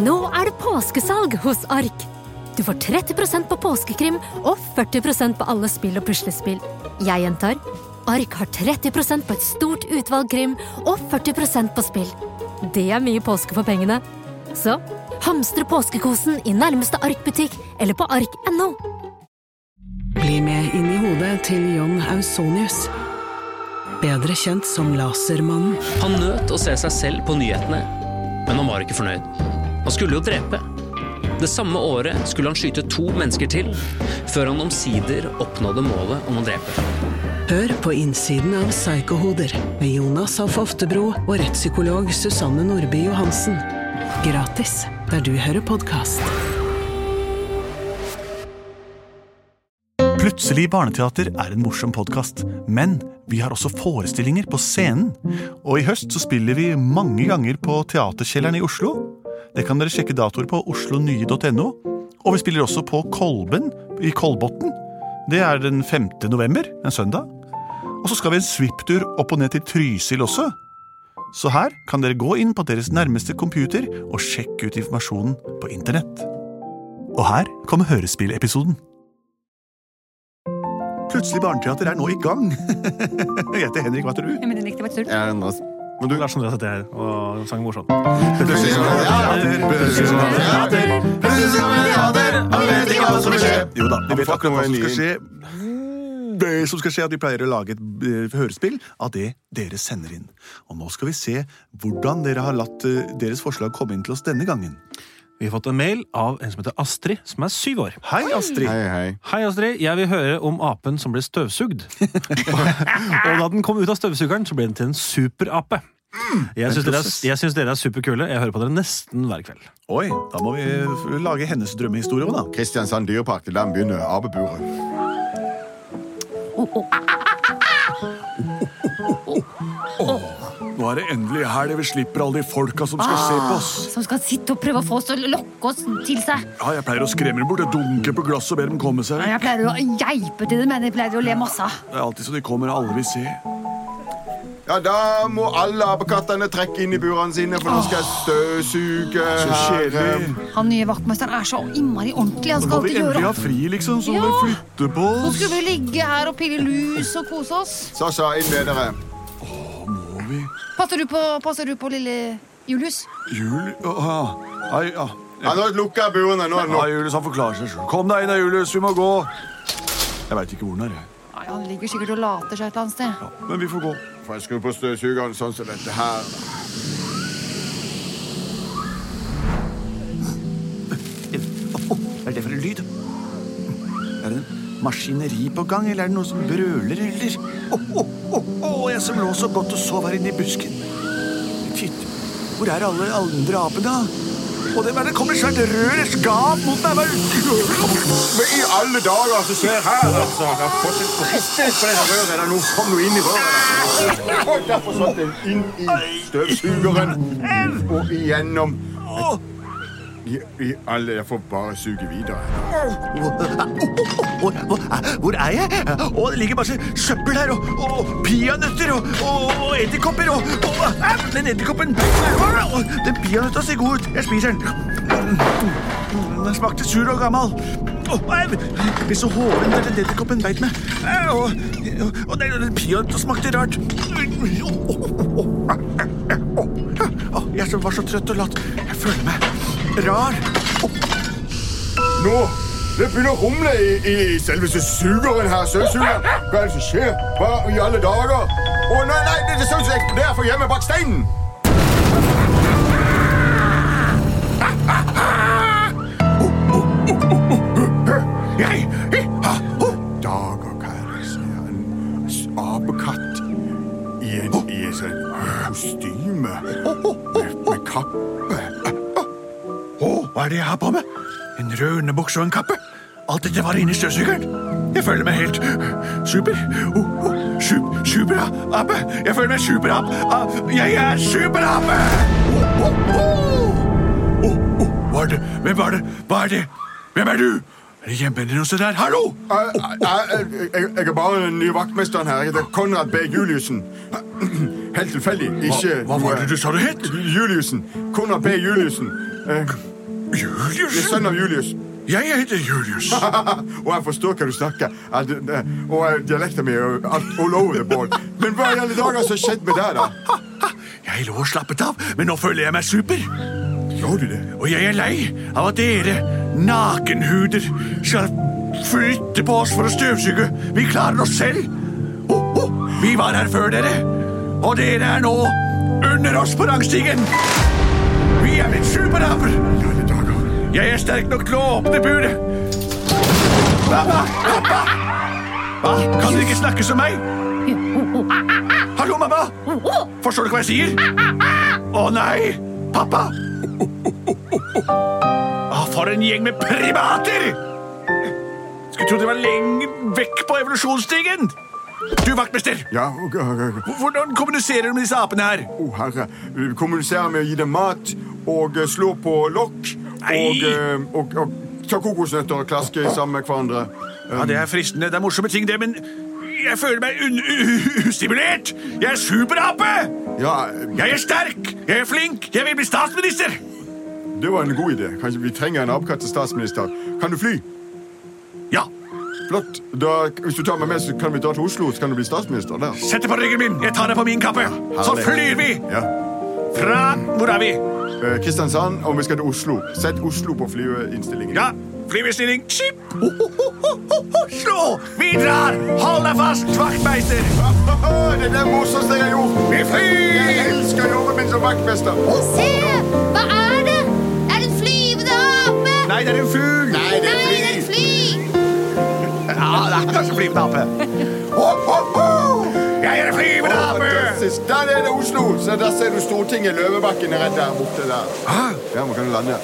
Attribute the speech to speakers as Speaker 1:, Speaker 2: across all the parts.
Speaker 1: Nå er det påskesalg hos Ark. Du får 30 på påskekrim og 40 på alle spill og puslespill. Jeg gjentar Ark har 30 på et stort utvalg krim og 40 på spill. Det er mye påske for pengene. Så hamstre påskekosen i nærmeste Ark-butikk eller på ark.no.
Speaker 2: Bli med inn i hodet til John Ausonius. Bedre kjent som Lasermannen.
Speaker 3: Han nøt å se seg selv på nyhetene, men han var ikke fornøyd. Han skulle jo drepe. Det samme året skulle han skyte to mennesker til, før han omsider oppnådde målet om å drepe.
Speaker 2: Hør på innsiden av Psykohoder med Jonas Alf Oftebro og rettspsykolog Susanne Nordby Johansen. Gratis der du hører podkast.
Speaker 4: Plutselig barneteater er en morsom podkast, men vi har også forestillinger på scenen. Og i høst så spiller vi mange ganger på Teaterkjelleren i Oslo. Det kan dere sjekke datoer på oslonye.no. Og vi spiller også på Kolben i Kolbotn. Det er den 5. november, en søndag. Og så skal vi en svipptur opp og ned til Trysil også. Så her kan dere gå inn på deres nærmeste computer og sjekke ut informasjonen på internett. Og her kommer hørespillepisoden. Plutselig barneteater er nå i gang. Jeg heter Henrik, hva heter du?
Speaker 5: Men den likte jeg
Speaker 6: Jeg er ennå Men du
Speaker 7: Lars Andreas heter sånn jeg, og sang morsomt.
Speaker 6: Plutselig skal vi teater, plutselig skal vi teater, plutselig skal vi teater, og vi vet ikke hva som vil skje.
Speaker 4: Jo da, vi vet
Speaker 6: Fuck,
Speaker 4: akkurat hva som
Speaker 6: nå er
Speaker 4: skal skje. Det som skal skje, er at vi pleier å lage et eh, hørespill av det dere sender inn. Og nå skal vi se hvordan dere har latt eh, deres forslag komme inn til oss denne gangen.
Speaker 7: Vi har fått en mail av en som heter Astrid, som er syv år.
Speaker 4: Hei, Astrid.
Speaker 6: Hei, hei.
Speaker 7: Hei, Astrid. Jeg vil høre om apen som ble støvsugd. og da den kom ut av støvsugeren, så ble den til en superape.
Speaker 6: Mm.
Speaker 7: Jeg syns dere, er- jeg syns dere er superkule. Jeg hører på dere nesten hver kveld.
Speaker 4: Oi, da må vi eh, lage hennes drømmehistorie òg, da.
Speaker 6: Kristiansand dyrepark, det er der vi begynner apeburet.
Speaker 8: Nå er det endelig helg. Vi slipper alle de folka som skal se på oss.
Speaker 5: Som skal sitte og prøve å få oss til å lokke oss til seg.
Speaker 8: Ja, jeg pleier å skremme dem bort. Jeg dunker på glasset og ber dem komme seg.
Speaker 5: Jeg pleier å geipe til dem, men jeg pleier å le masse. av.
Speaker 8: Det er alltid så de kommer og aldri ser.
Speaker 6: Ja, da må alle apekattene trekke inn i burene sine, for nå skal jeg støvsuge
Speaker 8: Så
Speaker 6: her. eh.
Speaker 8: kjedelig.
Speaker 5: Han nye vaktmesteren er så innmari ordentlig. Han
Speaker 8: Nå
Speaker 5: skal
Speaker 8: kan vi
Speaker 5: alltid
Speaker 8: endelig
Speaker 5: gjøre
Speaker 8: ha fri, liksom, så
Speaker 5: Ja.
Speaker 8: vi flytter på
Speaker 5: Nå
Speaker 8: oss.
Speaker 5: skulle vi ligge her og pille lus og kose oss.
Speaker 6: Så sa inn med dere.
Speaker 8: Må vi
Speaker 5: Passer du på, passer du på lille Julius?
Speaker 8: Jul... Ja, Hei, ja.
Speaker 6: Ja, nå lukker jeg burene. Nå er det
Speaker 8: Ja,
Speaker 6: nok.
Speaker 8: Julius, han forklarer seg selv. Kom deg inn, da, Julius. Vi må gå. Jeg veit ikke hvor den er, jeg.
Speaker 5: Nei, Han ligger sikkert og later seg et eller annet sted.
Speaker 8: Ja, men vi får gå.
Speaker 6: Får jeg skru på støvsugeren sånn som dette her?
Speaker 4: Hva er det for en lyd? Er det en maskineri på gang, eller er det noen som brøler, eller? Å, å, å, å, jeg som lå så godt og sov her inne i busken. Titt, hvor er alle andre apene? Og det, men det kommer et svært rør, et skap mot meg. hva-
Speaker 6: Men i alle dager som skjer her, altså! Jeg har fått et prosess på dette røret. der. Nå kom du inn i røret. der. Og derfor satt den inn i støvsugeren og igjennom. I, i alle, Jeg får bare suge videre.
Speaker 4: Hvor, hvor, hvor er jeg? Å, det ligger masse søppel her, og, og peanøtter, og, og, og edderkopper, og, og au, Den edderkoppen Å, Den peanøtta ser god ut. Jeg spiser den. Mm, Den smakte sur og gammel. Å, au! Jeg blir så hoven der den edderkoppen beit meg. Au, Og, og den, den peanøtta smakte rart. Å, å, å, å, å, å, Jeg som var så trøtt og latt. Jeg føler meg rar. Å,
Speaker 6: Nå! Det begynner å rumle i, i selveste sugeren her. Støvsugeren. Hva er det som skjer? Hva i alle dager? Å nei, nei, det er sånn som eksploderer for hjemme bak steinen! Jeg har dager, karer, sier en apekatt i en i en sånn kostyme med, med kappe.
Speaker 4: Å, hva er det jeg har på meg? En rød underbukse og en kappe? Alt dette var inni støvsugeren. Jeg føler meg helt super. Oh, oh, sup, superape. Jeg føler meg superap. Ah, Jeg er superape! Oh, oh, oh. Oh, oh, hva er det? Hvem var det? Hva er det? Hvem er du? Er det hjemme eller noe sånt der? Hallo!
Speaker 6: Jeg, jeg, jeg, jeg er bare den nye vaktmesteren her. Jeg heter Konrad B. Juliussen. Helt tilfeldig.
Speaker 4: Hva,
Speaker 6: Ikke
Speaker 4: hva var det du sa du het?
Speaker 6: Juliussen. Konrad B. Juliussen. Jeg er
Speaker 4: Julius?
Speaker 6: sønn av Julius.
Speaker 4: Jeg heter Julius.
Speaker 6: og jeg forstår hva du snakker. Jeg, du- eh, og jeg- dialekten min er jo alt all over the board. Men hva i alle dager som skjedde med deg, da?
Speaker 4: Jeg lå og slappet av, men nå føler jeg meg super.
Speaker 6: Gjorde du det?
Speaker 4: Og jeg er lei av at dere, nakenhuder, skal flytte på oss for å støvsuge. Vi klarer oss selv. Ho, ho. Vi var her før dere, og dere er nå under oss på rangstigen. Vi er blitt superaper. Jeg er sterk nok til å åpne buret. Mamma! Pappa! Hva? Kan dere ikke snakke som meg? Hallo, mamma! Forstår du hva jeg sier? Å nei! Pappa! Ah, for en gjeng med primater! Skulle tro de var lenge vekk på evolusjonsstigen. Du, vaktmester,
Speaker 6: Ja, ok, ok, ok.
Speaker 4: hvordan kommuniserer du med disse apene her?
Speaker 6: Å, herre. Vi kommuniserer med å gi dem mat og eh, slå på lokk. Og,
Speaker 4: Nei.
Speaker 6: eh, og, og ta kokosnøtter og klaske sammen med hverandre.
Speaker 4: Ja, Det er fristende. Det er morsomme ting, det, men jeg føler meg un u- ustimulert. Jeg er superape!
Speaker 6: Ja, eh,
Speaker 4: Jeg er sterk, jeg er flink, jeg vil bli statsminister!
Speaker 6: det var en god idé. Kanskje vi trenger en apekatt til statsminister. Kan du fly?
Speaker 4: Ja,
Speaker 6: Flott. Da, hvis du tar meg med, så kan vi dra til Oslo, så kan du bli statsminister der.
Speaker 4: sett det på ryggen min. Jeg tar det på min kappe. Så
Speaker 6: Herlig.
Speaker 4: flyr vi
Speaker 6: Ja.
Speaker 4: fra Hvor er vi?
Speaker 6: Eh, Kristiansand, og vi skal til Oslo. Sett Oslo på flyeinnstillingen.
Speaker 4: Ja, flyvestilling. Skip! Ho, ho, ho, ho, ho, ho. Slå! Vi drar! Hold deg fast, vaktmeister!
Speaker 6: Det er det morsomste jeg har gjort!
Speaker 4: Vi
Speaker 6: Jeg
Speaker 4: flyr!
Speaker 6: elsker jobben min som vaktmester!
Speaker 9: Se! Hva er det? Er det en flyvende ape?
Speaker 4: Nei, det er en fugl!
Speaker 6: Nei, det
Speaker 9: Nei, det er
Speaker 6: er
Speaker 9: et
Speaker 6: fly!
Speaker 9: fly!
Speaker 4: Ja, det er kanskje flyvende ape. Ho, ho, ho! Jeg er en flyvende
Speaker 6: Å,
Speaker 4: ape!
Speaker 6: fantastisk. Der er det Oslo! Så Der ser du Stortinget. Løvebakken er rett der borte. der.
Speaker 4: Ah.
Speaker 6: Ja, man kan jo lande.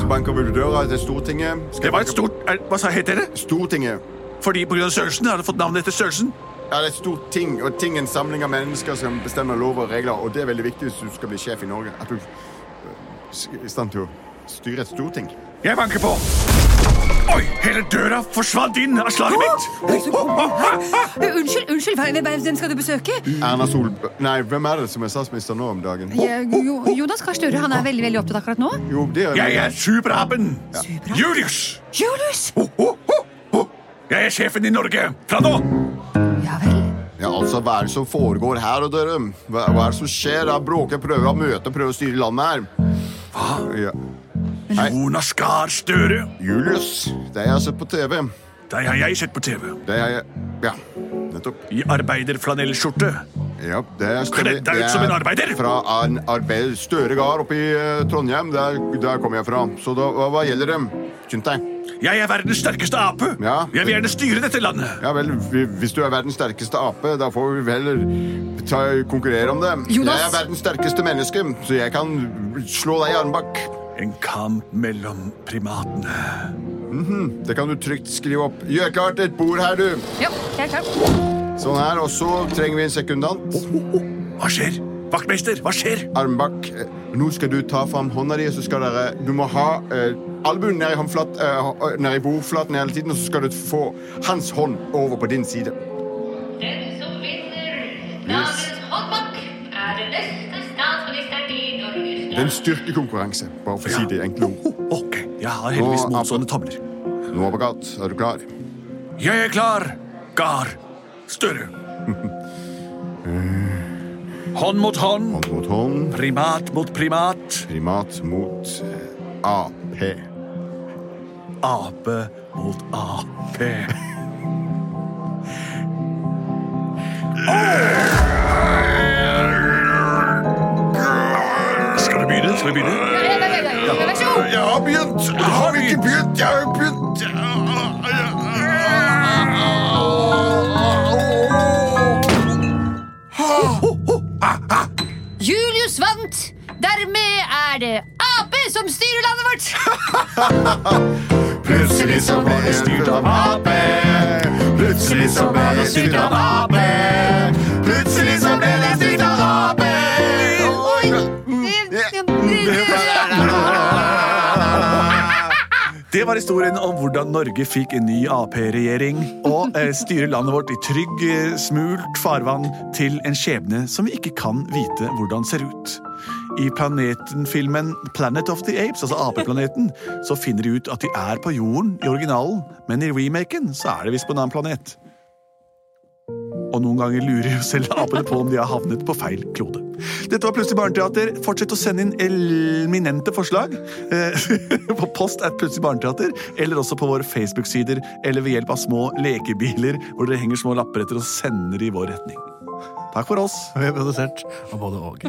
Speaker 6: Så banker vi på døra til Stortinget. Skal
Speaker 4: Det var
Speaker 6: banke
Speaker 4: et stort er, Hva sa het dere?
Speaker 6: på- Stortinget.
Speaker 4: Fordi på grunn av størrelsen? Har det fått navnet etter størrelsen?
Speaker 6: Ja, det er et stort ting, og ting er en samling av mennesker som bestemmer lover og regler. Og det er veldig viktig hvis du skal bli sjef i Norge. At du eh, er i stand til å styre et storting.
Speaker 4: Jeg banker på. Oi, hele døra forsvant inn av slaget mitt! Ho, ho, ho, ho.
Speaker 5: Eh, Unnskyld, unnskyld, hvem- hvem hvem skal du besøke?
Speaker 6: Erna Solberg Nei, hvem er det som er statsminister nå om dagen?
Speaker 5: Jeg- Eh, Jo, Jonas Gahr Støre han er veldig veldig opptatt akkurat nå.
Speaker 6: Jo, det er
Speaker 4: Jeg er superapen! Julius!
Speaker 5: Julius!
Speaker 4: Ho, ho, ho, ho. Jeg er sjefen i Norge fra nå!
Speaker 5: Ja vel.
Speaker 6: Ja, altså, Hva er det som foregår her, og dere? Hva, hva er det som skjer? Da Bråke prøver å møte prøver å styre landet her. Hva? Ja.
Speaker 4: Jonas Gahr Støre.
Speaker 6: Julius, det har jeg sett på TV.
Speaker 4: Deg har jeg sett på TV.
Speaker 6: Det har jeg Ja, nettopp.
Speaker 4: I arbeiderflanellskjorte.
Speaker 6: Ja, det er
Speaker 4: Kledd deg ut som en arbeider.
Speaker 6: Fra en arbeider Støre gard oppe i eh, Trondheim. Der, der kommer jeg fra. Så da, hva, hva gjelder dem? Skynd deg.
Speaker 4: Jeg er verdens sterkeste ape.
Speaker 6: Ja.
Speaker 4: Jeg vil gjerne styre dette landet.
Speaker 6: Ja vel, vi- hvis du er verdens sterkeste ape, da får vi heller ta, konkurrere om det.
Speaker 5: Jonas!
Speaker 6: Jeg er verdens sterkeste menneske, så jeg kan slå deg i armbakk.
Speaker 4: En kamp mellom primatene.
Speaker 6: Det kan du trygt skrive opp. Gjør klart et bord her, du.
Speaker 5: Ja, jeg er klar.
Speaker 6: Sånn her, og så trenger vi en sekundant.
Speaker 4: Hva skjer? Vaktmester, hva skjer?
Speaker 6: Armbakk. Eh, Nå skal du ta fram hånda di, og så skal dere Du må ha eh, albuen ned i håndflat, eh, hå- eh, ned i bordflaten hele tiden, og så skal du få hans hånd over på din side.
Speaker 10: Den som vinner dagens håndbak, er den neste statsministeren i Norges
Speaker 6: Det er en styrkekonkurranse, bare for å si det i enkle ord.
Speaker 4: Ok, jeg har heldigvis
Speaker 6: Nå,
Speaker 4: motstående tomler.
Speaker 6: Nå, Abagat, er du klar?
Speaker 4: Jeg er klar, Gahr Støre. Hånd mot hånd,
Speaker 6: Hånd mot hånd,
Speaker 4: primat mot primat,
Speaker 6: primat mot eh, AP.
Speaker 4: ape mot ape. Skal vi begynne? Skal vi begynne?
Speaker 5: Ja, ja, ja, ja, ja, Vær så god.
Speaker 6: Jeg har begynt! Jeg
Speaker 4: har ikke
Speaker 6: begynt! Jeg har jo begynt!
Speaker 9: Julius vant! Dermed er det ape som styrer landet vårt!
Speaker 6: Plutselig så ble jeg styrt av ape. Plutselig så ble jeg styrt av ape. Plutselig så ble jeg styrt av ape. Oi.
Speaker 5: Eh, eh, eh, eh,
Speaker 4: Det
Speaker 8: Det var historien om hvordan Norge fikk en ny Ap-regjering og eh, styrer landet vårt i trygg, eh, smult farvann til en skjebne som vi ikke kan vite hvordan ser ut. I planeten-filmen Planet of the Apes, altså Apeplaneten, så finner de ut at de er på jorden i originalen, men i remaken så er de visst på en annen planet. Og noen ganger lurer jo selv apene på om de har havnet på feil klode. Dette var Plutselig barneteater. Fortsett å sende inn elminente forslag eh, på post at Plutselig barneteater, eller også på våre Facebook-sider, eller ved hjelp av små lekebiler hvor dere henger små lapper etter og sender i vår retning. Takk for oss.
Speaker 11: Vi er produsert av både og.